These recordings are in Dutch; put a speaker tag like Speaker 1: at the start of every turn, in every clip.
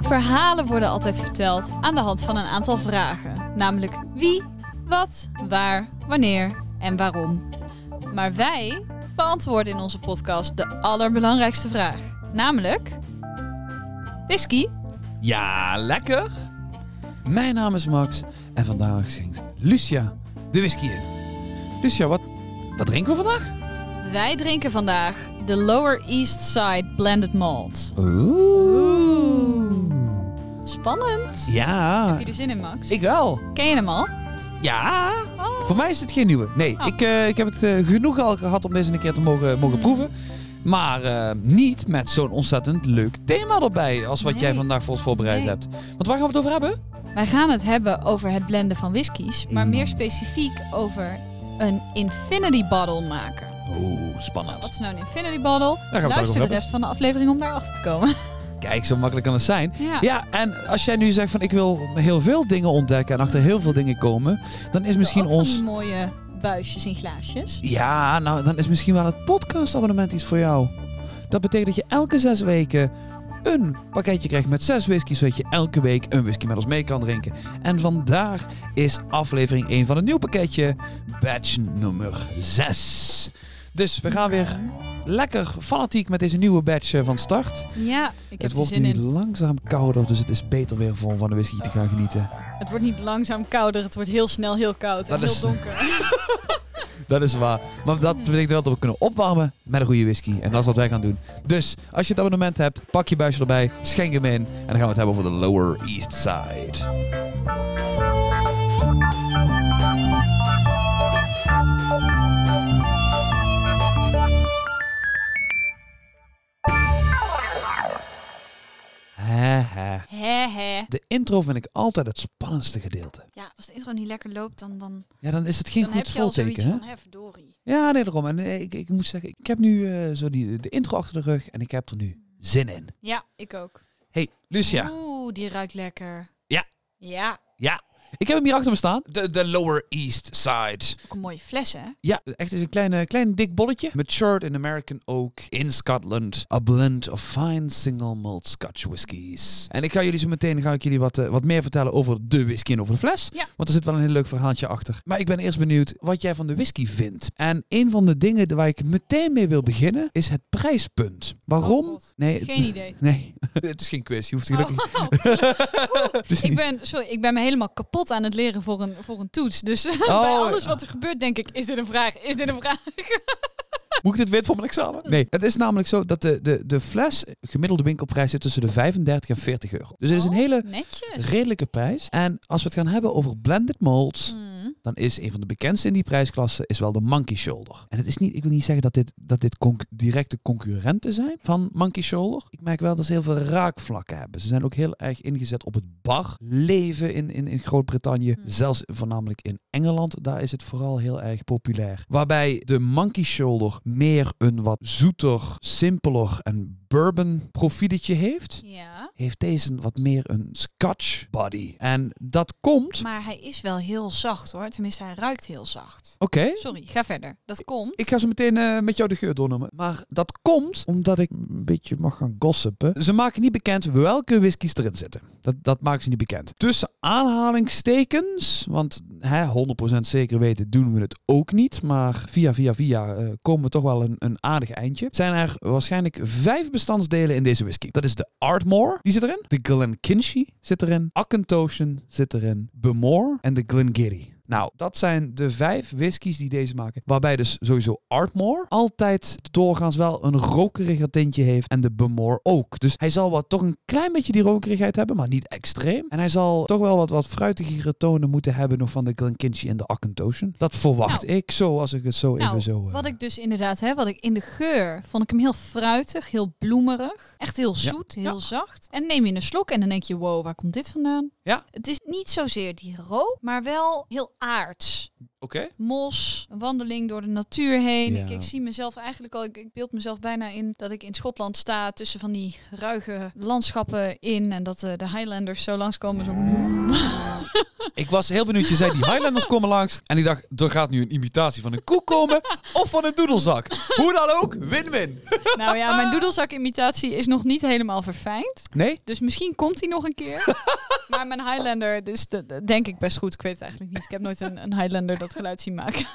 Speaker 1: verhalen worden altijd verteld aan de hand van een aantal vragen. Namelijk wie, wat, waar, wanneer en waarom. Maar wij beantwoorden in onze podcast de allerbelangrijkste vraag. Namelijk... Whisky?
Speaker 2: Ja, lekker. Mijn naam is Max en vandaag zingt Lucia de whisky in. Lucia, wat, wat drinken we vandaag?
Speaker 1: Wij drinken vandaag de Lower East Side Blended Malt. Spannend.
Speaker 2: Ja,
Speaker 1: Heb je er zin in, Max?
Speaker 2: ik wel.
Speaker 1: Ken je hem al?
Speaker 2: Ja.
Speaker 1: Oh.
Speaker 2: Voor mij is het geen nieuwe. Nee,
Speaker 1: Oh.
Speaker 2: ik, eh, ik heb het eh, genoeg al gehad om deze een keer te mogen, mogen proeven. Maar eh, niet met zo'n ontzettend leuk thema erbij. Als wat
Speaker 1: Nee.
Speaker 2: jij vandaag voor ons voorbereid
Speaker 1: Nee.
Speaker 2: hebt. Want waar gaan we het over hebben?
Speaker 1: Wij gaan het hebben over het blenden van whiskies, maar
Speaker 2: Mm.
Speaker 1: meer specifiek over een infinity bottle maken.
Speaker 2: Oeh, spannend.
Speaker 1: Oh, Wat is nou een infinity bottle?
Speaker 2: Daar gaan we het over
Speaker 1: Luister de
Speaker 2: hebben.
Speaker 1: rest van de aflevering om daarachter te komen.
Speaker 2: Kijk, zo makkelijk kan het zijn.
Speaker 1: Ja.
Speaker 2: Ja, en als jij nu zegt van ik wil heel veel dingen ontdekken en achter heel veel dingen komen, dan is misschien
Speaker 1: Ook van
Speaker 2: ons.
Speaker 1: die mooie buisjes en glaasjes.
Speaker 2: Ja, nou dan is misschien wel het podcastabonnement iets voor jou. Dat betekent dat je elke zes weken een pakketje krijgt met zes whiskies, zodat je elke week een whisky met ons mee kan drinken. En vandaag is aflevering 1 van het nieuw pakketje, batch nummer 6. Dus we gaan weer lekker fanatiek met deze nieuwe batch eh, van start.
Speaker 1: Ja, ik heb
Speaker 2: het
Speaker 1: er
Speaker 2: wordt
Speaker 1: zin
Speaker 2: nu
Speaker 1: in.
Speaker 2: langzaam kouder, dus het is beter weer voor om van de whisky te gaan genieten.
Speaker 1: Het wordt niet langzaam kouder, het wordt heel snel heel koud en
Speaker 2: Dat
Speaker 1: heel
Speaker 2: is-
Speaker 1: donker.
Speaker 2: Dat is waar. Maar dat betekent wel dat we kunnen opwarmen met een goede whisky. En dat is wat wij gaan doen. Dus als je het abonnement hebt, pak je buisje erbij, schenk hem in. En dan gaan we het hebben over de Lower East Side. Hè, hè.
Speaker 1: Hè hè.
Speaker 2: De intro vind ik altijd het spannendste gedeelte.
Speaker 1: Ja, als de intro niet lekker loopt, dan, dan,
Speaker 2: Ja, dan is het geen
Speaker 1: dan heb
Speaker 2: goed
Speaker 1: je al zoiets
Speaker 2: volteken. Hè?
Speaker 1: van, hè verdorie.
Speaker 2: Ja, nee, daarom. En eh, ik, ik moet zeggen, ik heb nu eh, zo die, de intro achter de rug en ik heb er nu zin in.
Speaker 1: Ja, ik ook.
Speaker 2: Hey, Lucia.
Speaker 1: Oeh, die ruikt lekker.
Speaker 2: Dus Ja.
Speaker 1: Ja,
Speaker 2: Ja. Ik heb hem hier achter me staan. De, de Lower East Side.
Speaker 1: ook een mooie fles hè.
Speaker 2: Ja, echt is een klein, eh, klein dik bolletje. Matured in American oak in Scotland. A blend of fine single malt Scotch whiskies. En ik ga jullie zo meteen ga ik jullie wat, eh, wat meer vertellen over de whisky en over de fles.
Speaker 1: Ja.
Speaker 2: Want er zit wel een heel leuk verhaaltje achter. Maar ik ben eerst benieuwd wat jij van de whisky vindt. En een van de dingen waar ik meteen mee wil beginnen is het prijspunt. Waarom?
Speaker 1: Oh God.
Speaker 2: nee,
Speaker 1: Geen idee.
Speaker 2: nee, het is geen quiz. Je hoeft
Speaker 1: Oh,
Speaker 2: gelukkig het is
Speaker 1: ik,
Speaker 2: niet-
Speaker 1: ben, sorry, ik ben me helemaal kapot aan het leren voor een, voor een toets. Dus
Speaker 2: Oh.
Speaker 1: bij alles wat er gebeurt denk ik, is dit een vraag? Is dit een vraag?
Speaker 2: Dus Moet ik dit weten voor mijn examen?
Speaker 1: Mm.
Speaker 2: Nee. Het is namelijk zo dat de, de, de fles, gemiddelde winkelprijs zit tussen de 35 en 40 euro. Dus het is een hele
Speaker 1: Oh, Netjes.
Speaker 2: redelijke prijs. En als we het gaan hebben over blended malts,
Speaker 1: Mm.
Speaker 2: dan is een van de bekendste in die prijsklasse is wel de Monkey Shoulder. En het is niet, ik wil niet zeggen dat dit, dat dit conc- directe concurrenten zijn van Monkey Shoulder. Ik merk wel dat ze heel veel raakvlakken hebben. Ze zijn ook heel erg ingezet op het barleven in, in, in Groot-Brittannië.
Speaker 1: Hmm.
Speaker 2: Zelfs voornamelijk in Engeland, daar is het vooral heel erg populair. Waarbij de Monkey Shoulder meer een wat zoeter, simpeler en bourbon profieletje heeft.
Speaker 1: Ja,
Speaker 2: Heeft deze wat meer een scotch body. En dat komt.
Speaker 1: maar hij is wel heel zacht hoor. Tenminste, hij ruikt heel zacht.
Speaker 2: Oké,
Speaker 1: Sorry, ga verder. Dat komt.
Speaker 2: Ik ga zo meteen eh, met jou de geur doornemen. Maar dat komt omdat ik een beetje mag gaan gossipen. Ze maken niet bekend welke whiskies erin zitten. Dat, dat maken ze niet bekend. Tussen aanhalingstekens, want hè, 100% zeker weten doen we het ook niet. Maar via via via eh, komen we toch wel een, een aardig eindje. Zijn er waarschijnlijk vijf bestandsdelen in deze whisky. Dat is de Ardmore, die zit erin. De Glenkinchie zit erin. Accantoshan zit erin. Bemore en de Glengarry. Nou, dat zijn de vijf whiskies die deze maken. Waarbij dus sowieso Ardmore altijd doorgaans wel een rokeriger tintje heeft. En de Bemore ook. Dus hij zal wat, toch een klein beetje die rokerigheid hebben, maar niet extreem. En hij zal toch wel wat, wat fruitigere tonen moeten hebben nog van de Glenkinchie en de Accantoshan. Dat verwacht ik zo, als ik het zo
Speaker 1: Nou,
Speaker 2: even zo... eh,
Speaker 1: Wat ik dus inderdaad heb, wat ik in de geur vond ik hem heel fruitig, heel bloemerig. Echt heel
Speaker 2: Ja.
Speaker 1: zoet, heel zacht. En neem je een slok en dan denk je, wow, waar komt dit vandaan?
Speaker 2: Ja.
Speaker 1: Het is niet zozeer die rook, maar wel heel aards.
Speaker 2: Oké.
Speaker 1: Mos, een wandeling door de natuur heen.
Speaker 2: Ja.
Speaker 1: Ik, ik zie mezelf eigenlijk al, ik, ik beeld mezelf bijna in dat ik in Schotland sta tussen van die ruige landschappen in. En dat eh, de Highlanders zo langskomen. Zo...
Speaker 2: Ik was heel benieuwd. Je zei die Highlanders komen langs. En ik dacht, er gaat nu een imitatie van een koek komen. Of van een doedelzak. Hoe dan ook, win-win.
Speaker 1: Nou ja, mijn doedelzak-imitatie is nog niet helemaal verfijnd.
Speaker 2: Nee?
Speaker 1: Dus misschien komt hij nog een keer. maar mijn Highlander is de, de- denk ik best goed. Ik weet het eigenlijk niet. Ik heb nooit een, een Highlander dat geluid zien maken.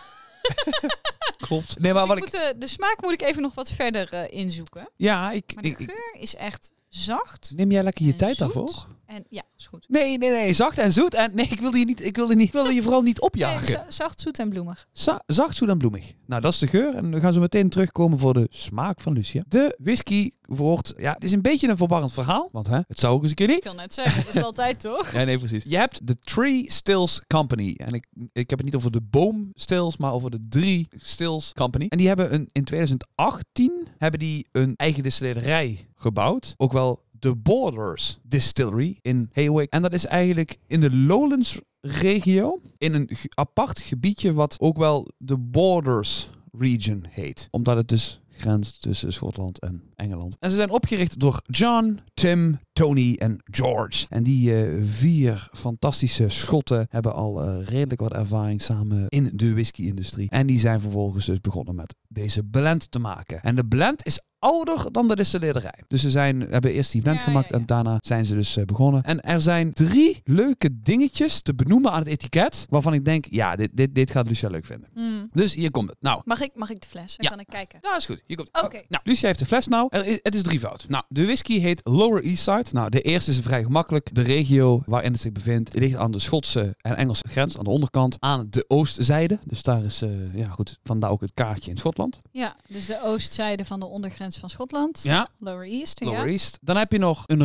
Speaker 2: Klopt. Nee, maar
Speaker 1: Dus
Speaker 2: wat
Speaker 1: ik
Speaker 2: ik...
Speaker 1: moet, eh, de smaak moet ik even nog wat verder eh, inzoeken.
Speaker 2: Ja, ik...
Speaker 1: Maar de
Speaker 2: ik- ik-
Speaker 1: geur is echt zacht.
Speaker 2: neem jij lekker je
Speaker 1: en
Speaker 2: tijd
Speaker 1: zoet.
Speaker 2: daarvoor?
Speaker 1: En ja, is goed.
Speaker 2: Nee, nee, nee. Zacht en zoet. En nee, ik wilde je, niet, ik wilde niet, ik wilde je vooral niet
Speaker 1: Nee,
Speaker 2: opjagen.
Speaker 1: za- zacht, zoet en bloemig.
Speaker 2: Za- zacht, zoet en bloemig. Nou, dat is de geur. En we gaan zo meteen terugkomen voor de smaak van Lucia. De whisky wordt... Ja, het is een beetje een verwarrend verhaal. Want hè, het zou ook eens een keer niet.
Speaker 1: Ik wil net zeggen, dat is het altijd toch?
Speaker 2: Ja, nee, precies. Je hebt de Tree Stills Company. En ik, ik heb het niet over de boom Stills, maar over de Drie Stills Company. En die hebben een, in 2018 hebben die een eigen distillerij gebouwd. Ook wel de Borders Distillery in Haywick. En dat is eigenlijk in de Lowlands regio. In een ge- apart gebiedje wat ook wel de Borders Region heet. Omdat het dus grenst tussen Schotland en Engeland. En ze zijn opgericht door John, Tim, Tony en George. En die eh, vier fantastische Schotten hebben al eh, redelijk wat ervaring samen in de whisky-industrie. En die zijn vervolgens dus begonnen met deze blend te maken. En de blend is ouder dan de distillerij. Dus ze zijn, hebben eerst die blend
Speaker 1: Ja,
Speaker 2: gemaakt
Speaker 1: ja, ja.
Speaker 2: en daarna zijn ze dus eh, begonnen. En er zijn drie leuke dingetjes te benoemen aan het etiket. Waarvan ik denk, ja, dit, dit, dit gaat Lucia leuk vinden.
Speaker 1: Hmm.
Speaker 2: Dus hier komt het. Nou,
Speaker 1: Mag, ik, mag ik de fles? Dan
Speaker 2: Ja.
Speaker 1: kan ik kijken.
Speaker 2: ja, is goed. Hier komt.
Speaker 1: Oké.
Speaker 2: Nou, Lucia heeft de fles nou. Er is- het is drievoud. Nou, de whisky heet Lower East Side. Nou, de eerste is vrij gemakkelijk. De regio waarin het zich bevindt ligt aan de Schotse en Engelse grens, aan de onderkant, aan de oostzijde. Dus daar is, eh, ja goed, vandaar ook het kaartje in Schotland.
Speaker 1: Ja, dus de oostzijde van de ondergrens van Schotland.
Speaker 2: Ja,
Speaker 1: Lower East, ja.
Speaker 2: Lower East. Dan heb je nog een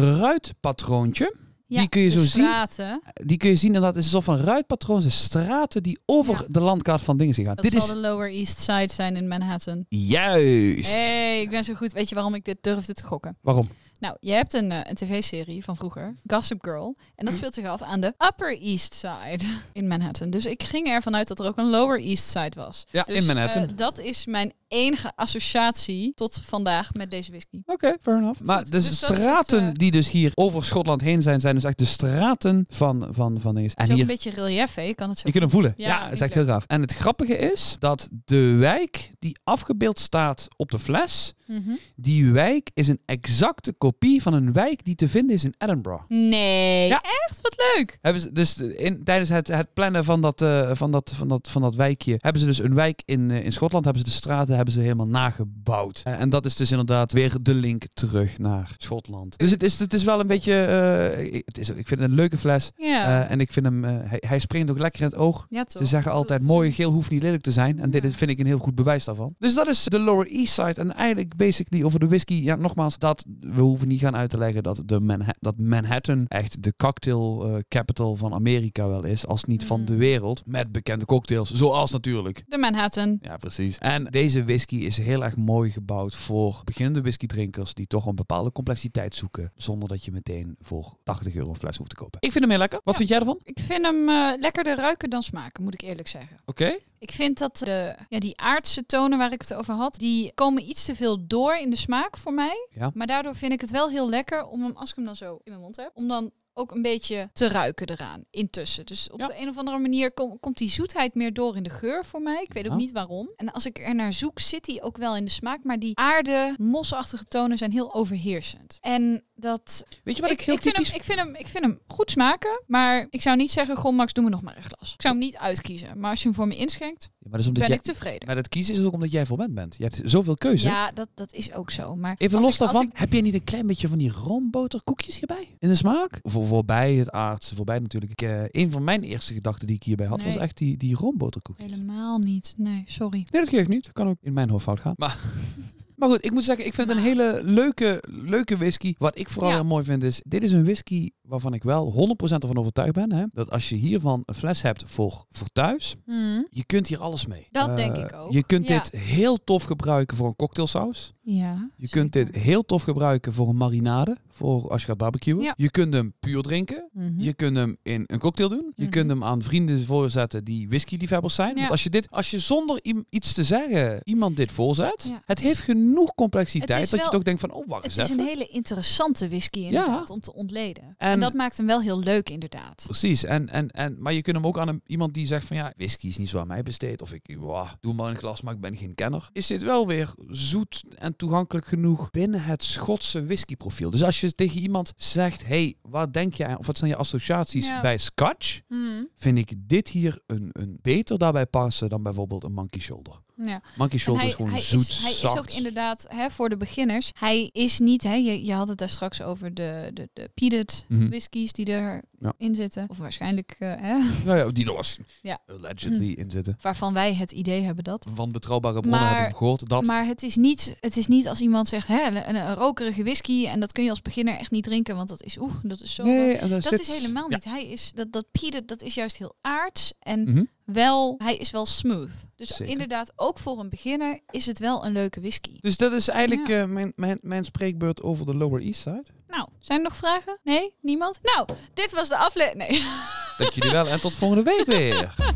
Speaker 2: ruitpatroontje.
Speaker 1: Ja,
Speaker 2: Die kun je
Speaker 1: de
Speaker 2: zo zien.
Speaker 1: straten.
Speaker 2: Die kun je zien inderdaad, het is alsof een ruitpatroon zijn straten die over
Speaker 1: Ja.
Speaker 2: de landkaart van dingen gaan.
Speaker 1: Dat
Speaker 2: Dit
Speaker 1: zal
Speaker 2: is
Speaker 1: de Lower East Side zijn in Manhattan.
Speaker 2: juist.
Speaker 1: hey, ik ben zo goed. Weet je waarom ik dit durfde te gokken?
Speaker 2: Waarom?
Speaker 1: Nou, je hebt een, eh, een tv-serie van vroeger, Gossip Girl. En dat
Speaker 2: Hm.
Speaker 1: speelt zich af aan de Upper East Side in Manhattan. Dus ik ging ervan uit dat er ook een Lower East Side was.
Speaker 2: Ja,
Speaker 1: Dus,
Speaker 2: in Manhattan.
Speaker 1: eh, dat is mijn enige associatie tot vandaag met deze whisky.
Speaker 2: Oké, fair enough. Maar
Speaker 1: Goed,
Speaker 2: dus de
Speaker 1: dus dat is het,
Speaker 2: straten
Speaker 1: eh,
Speaker 2: die dus hier over Schotland heen zijn, zijn dus echt de straten van, van, van dingen.
Speaker 1: Het is
Speaker 2: En
Speaker 1: ook
Speaker 2: hier,
Speaker 1: een beetje relief, hè? Je kan het zo...
Speaker 2: je kunt hem voelen.
Speaker 1: Ja,
Speaker 2: Ja,
Speaker 1: vind
Speaker 2: dat is
Speaker 1: ik
Speaker 2: echt heel gaaf. En het grappige is dat de wijk die afgebeeld staat op de fles,
Speaker 1: Mhm.
Speaker 2: die wijk is een exacte kopie van een wijk die te vinden is in Edinburgh.
Speaker 1: Nee,
Speaker 2: Ja.
Speaker 1: echt? Wat leuk!
Speaker 2: Hebben ze dus in, tijdens het, het plannen van dat, eh, van, dat, van, dat, van dat wijkje, hebben ze dus een wijk in, eh, in Schotland, hebben ze de straten hebben ze helemaal nagebouwd. Eh, en dat is dus inderdaad weer de link terug naar Schotland. Dus het is, het is wel een beetje, eh, het is, ik vind het een leuke fles.
Speaker 1: Ja,
Speaker 2: Eh, en ik vind hem, eh, hij, hij springt ook lekker in het oog.
Speaker 1: ja toch?
Speaker 2: Ze zeggen altijd,
Speaker 1: Dat is
Speaker 2: mooi geel hoeft niet lelijk te zijn. En dit
Speaker 1: Ja.
Speaker 2: is- vind ik een heel goed bewijs daarvan. Dus dat is de Lower East Side. En eigenlijk basically over de whisky. Ja, nogmaals, dat, we hoeven niet gaan uit te leggen dat, de Manha- dat Manhattan echt de cocktail eh, capital van Amerika wel is. Als niet van
Speaker 1: Mm.
Speaker 2: de wereld. Met bekende cocktails. Zoals natuurlijk.
Speaker 1: De Manhattan.
Speaker 2: Ja, precies. En deze whisky is heel erg mooi gebouwd voor beginnende whiskydrinkers die toch een bepaalde complexiteit zoeken. Zonder dat je meteen voor 80 euro een fles hoeft te kopen. Ik vind hem heel lekker. Wat
Speaker 1: Ja.
Speaker 2: vind jij ervan?
Speaker 1: Ik vind hem eh, lekkerder ruiken dan smaken, moet ik eerlijk zeggen.
Speaker 2: Oké.
Speaker 1: Ik vind dat de, ja, die aardse tonen waar ik het over had, die komen iets te veel door in de smaak voor mij.
Speaker 2: Ja.
Speaker 1: Maar daardoor vind ik het wel heel lekker om hem, als ik hem dan zo in mijn mond heb, om dan ook een beetje te ruiken eraan intussen. Dus op
Speaker 2: Ja.
Speaker 1: de een of andere manier kom- komt die zoetheid meer door in de geur voor mij. Ik weet
Speaker 2: Ja.
Speaker 1: ook niet waarom. En als ik er naar zoek, zit die ook wel in de smaak. Maar die aarde, mosachtige tonen zijn heel overheersend. En dat
Speaker 2: Weet je wat ik, heel
Speaker 1: vind
Speaker 2: typisch
Speaker 1: hem, ik, vind hem, ik vind hem goed smaken, maar ik zou niet zeggen, goh Max, doe me nog maar een glas. Ik zou hem niet uitkiezen, maar als je hem voor me inschenkt,
Speaker 2: Ja, maar dat is omdat
Speaker 1: ben
Speaker 2: jij,
Speaker 1: ik tevreden.
Speaker 2: maar dat kiezen is ook omdat jij volwend bent. Je hebt zoveel keuze.
Speaker 1: Ja, dat, dat is ook zo. Maar
Speaker 2: Even
Speaker 1: als
Speaker 2: los
Speaker 1: ik- als
Speaker 2: daarvan,
Speaker 1: ik-
Speaker 2: heb jij niet een klein beetje van die roomboterkoekjes hierbij? In de smaak? Voor, voorbij het aardse, voorbij natuurlijk. Ik, eh, een van mijn eerste gedachten die ik hierbij had,
Speaker 1: Nee.
Speaker 2: was echt die, die roomboterkoekjes.
Speaker 1: helemaal niet, nee, sorry.
Speaker 2: Nee, dat geeft niet. Kan ook in mijn hoofd fout gaan. Maar, maar goed, ik moet zeggen, ik vind het een hele leuke, leuke whisky. Wat ik vooral
Speaker 1: Ja.
Speaker 2: heel mooi vind is, dit is een whisky waarvan ik wel 100% ervan overtuigd ben. Hè, dat als je hiervan een fles hebt voor, voor thuis,
Speaker 1: Hmm.
Speaker 2: je kunt hier alles mee.
Speaker 1: Dat
Speaker 2: Eh,
Speaker 1: denk ik ook.
Speaker 2: Je kunt
Speaker 1: Ja.
Speaker 2: dit heel tof gebruiken voor een cocktailsaus.
Speaker 1: Ja.
Speaker 2: Je kunt dit heel tof gebruiken voor een marinade, voor als je gaat barbecuen.
Speaker 1: Ja.
Speaker 2: Je kunt hem puur drinken. Je kunt hem in een cocktail doen. Je
Speaker 1: Mhm.
Speaker 2: kunt hem aan vrienden voorzetten die whisky-liefhebbers zijn.
Speaker 1: Ja.
Speaker 2: Want als je dit, als je zonder iem- iets te zeggen iemand dit voorzet,
Speaker 1: Ja.
Speaker 2: het heeft genoeg complexiteit
Speaker 1: Het is
Speaker 2: dat je
Speaker 1: wel-
Speaker 2: toch denkt van, oh, wacht eens
Speaker 1: Het is
Speaker 2: even.
Speaker 1: een hele interessante whisky inderdaad om te ontleden. En,
Speaker 2: En-
Speaker 1: dat maakt hem wel heel leuk inderdaad.
Speaker 2: Precies, en, en, en, maar je kunt hem ook aan een, iemand die zegt van ja, whisky is niet zo aan mij besteed. Of ik wah, doe maar een glas, maar ik ben geen kenner. Is dit wel weer zoet en toegankelijk genoeg binnen het Schotse whiskyprofiel? Dus als je tegen iemand zegt, hey, wat denk jij, aan? of wat zijn je associaties
Speaker 1: Ja.
Speaker 2: bij Scotch?
Speaker 1: Hmm,
Speaker 2: Vind ik dit hier een, een beter daarbij passen dan bijvoorbeeld een Monkey Shoulder.
Speaker 1: ja.
Speaker 2: Monkey
Speaker 1: En
Speaker 2: Shoulder is gewoon
Speaker 1: hij
Speaker 2: zoet,
Speaker 1: is, hij
Speaker 2: zacht.
Speaker 1: is ook inderdaad, hè, voor de beginners, hij is niet, hè, je, je had het daar straks over de, de, de peated
Speaker 2: Mhm.
Speaker 1: whiskies die erin
Speaker 2: Ja.
Speaker 1: zitten. Of waarschijnlijk, eh, hè,
Speaker 2: Nou ja, die er was
Speaker 1: Ja. Hm.
Speaker 2: allegedly in zitten.
Speaker 1: waarvan wij het idee hebben dat.
Speaker 2: Van betrouwbare bronnen
Speaker 1: Maar-
Speaker 2: heb ik gehoord dat...
Speaker 1: Maar het is, niet, het is niet als iemand zegt, hè, een, een rokerige whisky en dat kun je als beginner echt niet drinken, want dat is, oeh, dat is zo...
Speaker 2: nee, en
Speaker 1: dat
Speaker 2: dit-
Speaker 1: is helemaal
Speaker 2: Ja.
Speaker 1: niet. Hij is, dat, dat peated, dat is juist heel aards en
Speaker 2: Mhm.
Speaker 1: wel, hij is wel smooth. Dus
Speaker 2: Zeker.
Speaker 1: inderdaad, ook voor een beginner is het wel een leuke whisky.
Speaker 2: Dus dat is eigenlijk
Speaker 1: Ja.
Speaker 2: eh, mijn, mijn, mijn spreekbeurt over de Lower East Side.
Speaker 1: Nou, zijn er nog vragen? Nee? Niemand? Nou, dit was de aflevering. Nee.
Speaker 2: Dank jullie wel en tot volgende week weer.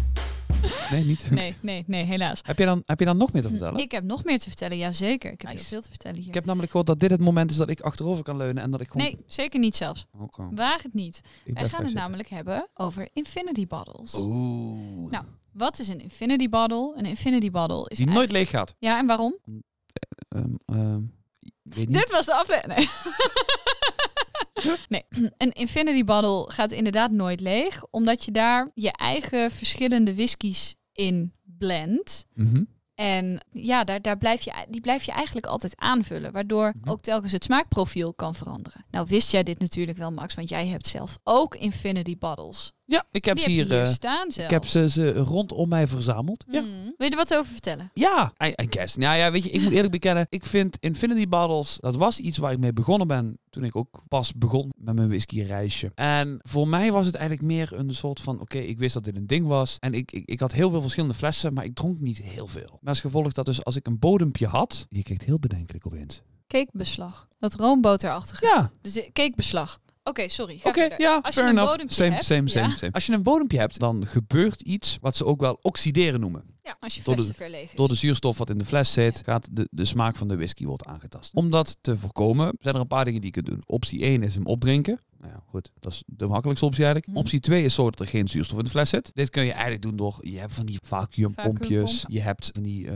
Speaker 2: Nee, niet.
Speaker 1: nee, nee, nee, helaas.
Speaker 2: Heb, je dan, heb je dan nog meer te vertellen? Ik,
Speaker 1: Ik heb nog meer te vertellen, jazeker. Ik heb
Speaker 2: Nice.
Speaker 1: heel veel te vertellen hier.
Speaker 2: heb namelijk gehoord dat dit het moment is dat ik achterover kan leunen en dat ik gewoon...
Speaker 1: Nee, zeker niet zelfs.
Speaker 2: Oké.
Speaker 1: Waag het niet.
Speaker 2: Ik
Speaker 1: Wij
Speaker 2: blijf
Speaker 1: gaan het
Speaker 2: daar
Speaker 1: namelijk hebben over infinity bottles.
Speaker 2: zitten. Oeh.
Speaker 1: Nou, Wat is een infinity bottle? Een infinity bottle is
Speaker 2: Die
Speaker 1: eigenlijk-
Speaker 2: nooit leeg gaat.
Speaker 1: Ja, en waarom?
Speaker 2: Ehm, ehm, ik weet niet.
Speaker 1: Dit was de aflevering. Nee. nee, een infinity bottle gaat inderdaad nooit leeg, omdat je daar je eigen verschillende whiskies in blendt.
Speaker 2: Mhm.
Speaker 1: En ja, daar, daar blijf je, die blijf je eigenlijk altijd aanvullen, waardoor
Speaker 2: Mhm.
Speaker 1: ook telkens het smaakprofiel kan veranderen. Nou wist jij dit natuurlijk wel, Max, want jij hebt zelf ook infinity bottles.
Speaker 2: Ja, ik heb
Speaker 1: Die
Speaker 2: ze
Speaker 1: heb je
Speaker 2: hier...
Speaker 1: hier
Speaker 2: eh,
Speaker 1: staan zelf.
Speaker 2: ik heb ze, ze rondom mij verzameld. Ja.
Speaker 1: Hmm. Wil je er wat over vertellen?
Speaker 2: Ja, I, I guess. Nou ja, weet je, ik moet eerlijk bekennen. Ik vind Infinity Bottles, dat was iets waar ik mee begonnen ben toen ik ook pas begon met mijn whiskyreisje. En voor mij was het eigenlijk meer een soort van, oké, ik wist dat dit een ding was. En ik, ik, ik had heel veel verschillende flessen, maar ik dronk niet heel veel. Maar als gevolg dat dus als ik een bodempje had, je kijkt heel bedenkelijk opeens.
Speaker 1: Cakebeslag. Dat roomboterachtige.
Speaker 2: Ja,
Speaker 1: Dus eh, cakebeslag. Oké, sorry. ga
Speaker 2: oké,
Speaker 1: verder.
Speaker 2: ja,
Speaker 1: Als je
Speaker 2: fair
Speaker 1: een
Speaker 2: enough.
Speaker 1: bodempje
Speaker 2: Same,
Speaker 1: hebt,
Speaker 2: same,
Speaker 1: ja.
Speaker 2: same, same. Als je een bodempje hebt, dan gebeurt iets wat ze ook wel oxideren noemen.
Speaker 1: Ja, als je
Speaker 2: Door
Speaker 1: fles
Speaker 2: de-
Speaker 1: te ver leeg is.
Speaker 2: Door de zuurstof wat in de fles zit, gaat de, de smaak van de whisky wordt aangetast. Om dat te voorkomen, zijn er een paar dingen die je kunt doen. Optie 1 is hem opdrinken. Nou ja, goed, dat is de makkelijkste optie eigenlijk.
Speaker 1: Mhm.
Speaker 2: Optie 2 is zo dat er geen zuurstof in de fles zit. Dit kun je eigenlijk doen door, je hebt van die vacuumpompjes,
Speaker 1: Vacuümpomp.
Speaker 2: je hebt van die eh,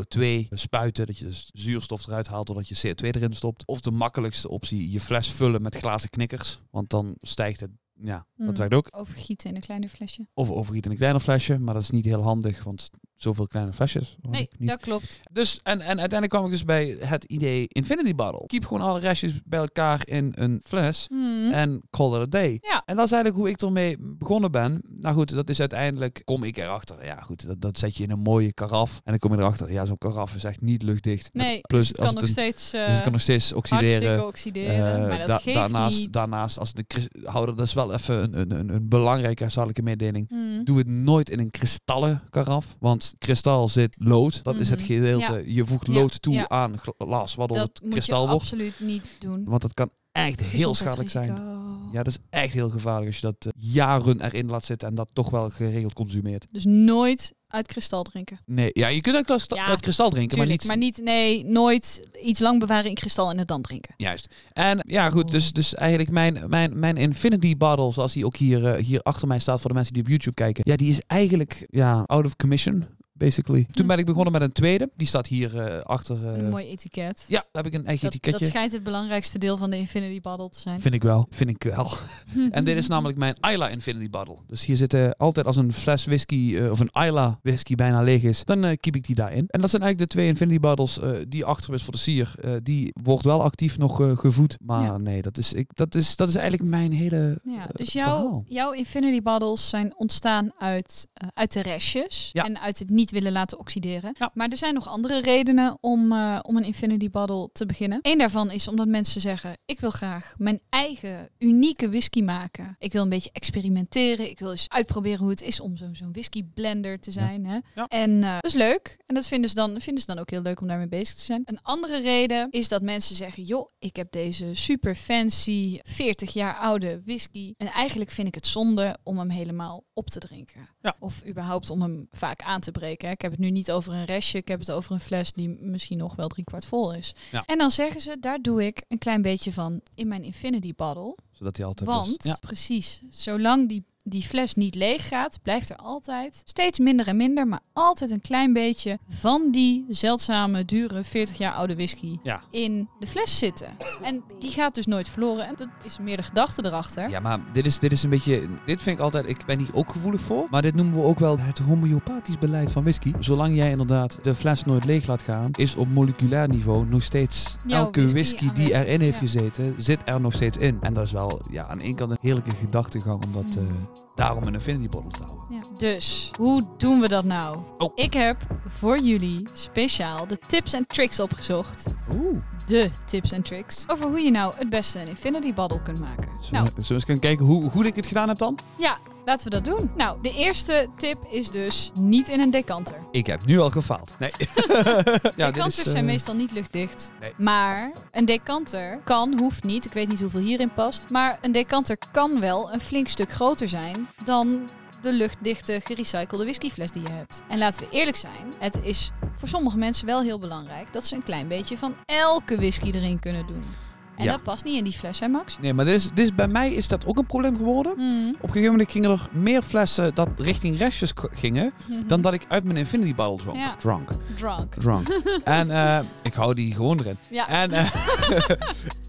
Speaker 2: CO2 spuiten, dat je dus zuurstof eruit haalt doordat je CO2 erin stopt. Of de makkelijkste optie, je fles vullen met glazen knikkers, want dan stijgt het, ja, dat
Speaker 1: Mhm.
Speaker 2: werkt ook.
Speaker 1: Overgieten in een kleiner flesje.
Speaker 2: Of overgiet in een kleiner flesje, maar dat is niet heel handig, want zoveel kleine flesjes. had
Speaker 1: Nee,
Speaker 2: ik niet.
Speaker 1: dat klopt.
Speaker 2: Dus, en, en uiteindelijk kwam ik dus bij het idee Infinity Bottle. Keep gewoon alle restjes bij elkaar in een fles
Speaker 1: Hmm. Mhm.
Speaker 2: en call it a day.
Speaker 1: Ja.
Speaker 2: En dat is eigenlijk hoe ik ermee begonnen ben. Nou goed, dat is uiteindelijk, kom ik erachter. Ja goed, dat, dat zet je in een mooie karaf en dan kom je erachter. Ja, zo'n karaf is echt niet luchtdicht. Met-
Speaker 1: Nee,
Speaker 2: plus
Speaker 1: dus het kan
Speaker 2: als
Speaker 1: nog
Speaker 2: het een-
Speaker 1: steeds eh
Speaker 2: dus het kan nog steeds
Speaker 1: hartstikke
Speaker 2: oxideren.
Speaker 1: oxideren.
Speaker 2: Eh,
Speaker 1: maar dat
Speaker 2: da-
Speaker 1: geeft
Speaker 2: daarnaast,
Speaker 1: niet.
Speaker 2: daarnaast, als de kris- houder, dat is wel even een, een, een, een belangrijke zakelijke mededeling.
Speaker 1: Hmm.
Speaker 2: Doe het nooit in een kristallen karaf. Want kristal zit lood. Dat is het
Speaker 1: Mhm.
Speaker 2: gedeelte. Je voegt
Speaker 1: Ja,
Speaker 2: lood toe
Speaker 1: ja.
Speaker 2: aan gla- glas, waardoor
Speaker 1: Dat
Speaker 2: het
Speaker 1: moet je
Speaker 2: kristal wordt.
Speaker 1: absoluut niet doen.
Speaker 2: Want dat kan echt heel schadelijk zijn.
Speaker 1: Gezondheidsrisico.
Speaker 2: Ja, dat is echt heel gevaarlijk als je dat eh, jaren erin laat zitten en dat toch wel geregeld consumeert.
Speaker 1: Dus nooit uit kristal drinken.
Speaker 2: Nee, ja, je kunt ook klas-
Speaker 1: Ja,
Speaker 2: uit kristal drinken,
Speaker 1: Tuurlijk,
Speaker 2: maar niet...
Speaker 1: nee, nooit iets lang bewaren in kristal en het dan drinken.
Speaker 2: Juist. En ja, goed, dus, dus eigenlijk mijn, mijn, mijn Infinity Bottle, zoals die ook hier, eh, hier achter mij staat voor de mensen die op YouTube kijken, ja, die is eigenlijk ja, out of commission, basically. Toen
Speaker 1: Hm.
Speaker 2: ben ik begonnen met een tweede. Die staat hier eh, achter... eh,
Speaker 1: een mooi etiket.
Speaker 2: Ja, daar heb ik een eigen
Speaker 1: Dat, dat
Speaker 2: etiketje.
Speaker 1: schijnt het belangrijkste deel van de Infinity Bottle te zijn.
Speaker 2: Vind ik wel. Vind ik wel. en dit is namelijk mijn Isla Infinity Bottle. Dus hier zitten altijd als een fles whisky eh, of een Isla whisky bijna leeg is, dan eh keep ik die daarin. En dat zijn eigenlijk de twee Infinity Bottles eh, die achter is voor de sier. Eh, die wordt wel actief nog eh, gevoed. Maar
Speaker 1: Ja.
Speaker 2: nee, dat is, ik, dat, is, dat is eigenlijk mijn hele...
Speaker 1: Ja,
Speaker 2: eh,
Speaker 1: dus
Speaker 2: verhaal.
Speaker 1: jouw, jouw Infinity Bottles zijn ontstaan uit, eh, uit de restjes
Speaker 2: Ja.
Speaker 1: en uit het niet willen laten oxideren.
Speaker 2: Ja.
Speaker 1: Maar er zijn nog andere redenen om, eh, om een Infinity Bottle te beginnen. Eén daarvan is omdat mensen zeggen, ik wil graag mijn eigen unieke whisky maken. Ik wil een beetje experimenteren. Ik wil eens uitproberen hoe het is om zo'n zo'n whisky blender te zijn. Hè?
Speaker 2: Ja.
Speaker 1: En eh, dat is leuk. En dat vinden ze, dan, vinden ze dan ook heel leuk om daarmee bezig te zijn. Een andere reden is dat mensen zeggen: joh, ik heb deze super fancy 40 jaar oude whisky. En eigenlijk vind ik het zonde om hem helemaal op te drinken.
Speaker 2: Ja.
Speaker 1: Of überhaupt om hem vaak aan te breken. Hè. Ik heb het nu niet over een restje, ik heb het over een fles die misschien nog wel driekwart vol is.
Speaker 2: Ja.
Speaker 1: En dan zeggen ze, daar doe ik een klein beetje van in mijn Infinity Bottle.
Speaker 2: Zodat hij altijd
Speaker 1: Want,
Speaker 2: lust- Ja.
Speaker 1: precies, zolang die, die fles niet leeg gaat, blijft er altijd steeds minder en minder, maar altijd een klein beetje van die zeldzame, dure, 40 jaar oude whisky
Speaker 2: Ja.
Speaker 1: in de fles zitten. En die gaat dus nooit verloren. En dat is meer de gedachte erachter.
Speaker 2: Ja, maar dit is, dit is een beetje. Dit vind ik altijd. Ik ben hier ook gevoelig voor. Maar dit noemen we ook wel het homeopathisch beleid van whisky. Zolang jij inderdaad de fles nooit leeg laat gaan, is op moleculair niveau nog steeds
Speaker 1: Jouw
Speaker 2: elke
Speaker 1: whisky
Speaker 2: whisky, die
Speaker 1: aanwezig,
Speaker 2: erin heeft
Speaker 1: ja.
Speaker 2: gezeten, zit er nog steeds in. En dat is wel ja, aan de ene kant een heerlijke gedachtegang om dat eh, daarom een infinity bottle te houden.
Speaker 1: Ja. Dus, hoe doen we dat nou?
Speaker 2: Oh.
Speaker 1: Ik heb voor jullie speciaal de tips en tricks opgezocht.
Speaker 2: Oeh.
Speaker 1: De tips en tricks. Over hoe je nou het beste een Infinity Bottle kunt maken.
Speaker 2: Zullen,
Speaker 1: Nou,
Speaker 2: we, zullen we eens gaan kijken hoe goed ik het gedaan heb dan?
Speaker 1: ja, laten we dat doen. Nou, de eerste tip is dus niet in een decanter.
Speaker 2: Ik heb nu al gefaald. Nee. ja,
Speaker 1: Decanters
Speaker 2: eh,
Speaker 1: zijn meestal niet luchtdicht.
Speaker 2: nee.
Speaker 1: Maar een decanter kan, hoeft niet, ik weet niet hoeveel hierin past. Maar een decanter kan wel een flink stuk groter zijn dan de luchtdichte gerecyclede whiskyfles die je hebt. En laten we eerlijk zijn, het is voor sommige mensen wel heel belangrijk dat ze een klein beetje van elke whisky erin kunnen doen. En
Speaker 2: Ja.
Speaker 1: dat past niet in die fles, hè Max?
Speaker 2: Nee, maar dit is, dit is, bij mij is dat ook een probleem geworden.
Speaker 1: Mm.
Speaker 2: Op een gegeven moment gingen er meer flessen dat richting restjes k- gingen. dan dat ik uit mijn Infinity Bottle dronk.
Speaker 1: Mhm. Ja.
Speaker 2: Drunk.
Speaker 1: Drunk.
Speaker 2: Drunk. en eh, ik hou die gewoon erin.
Speaker 1: Ja.
Speaker 2: En, eh,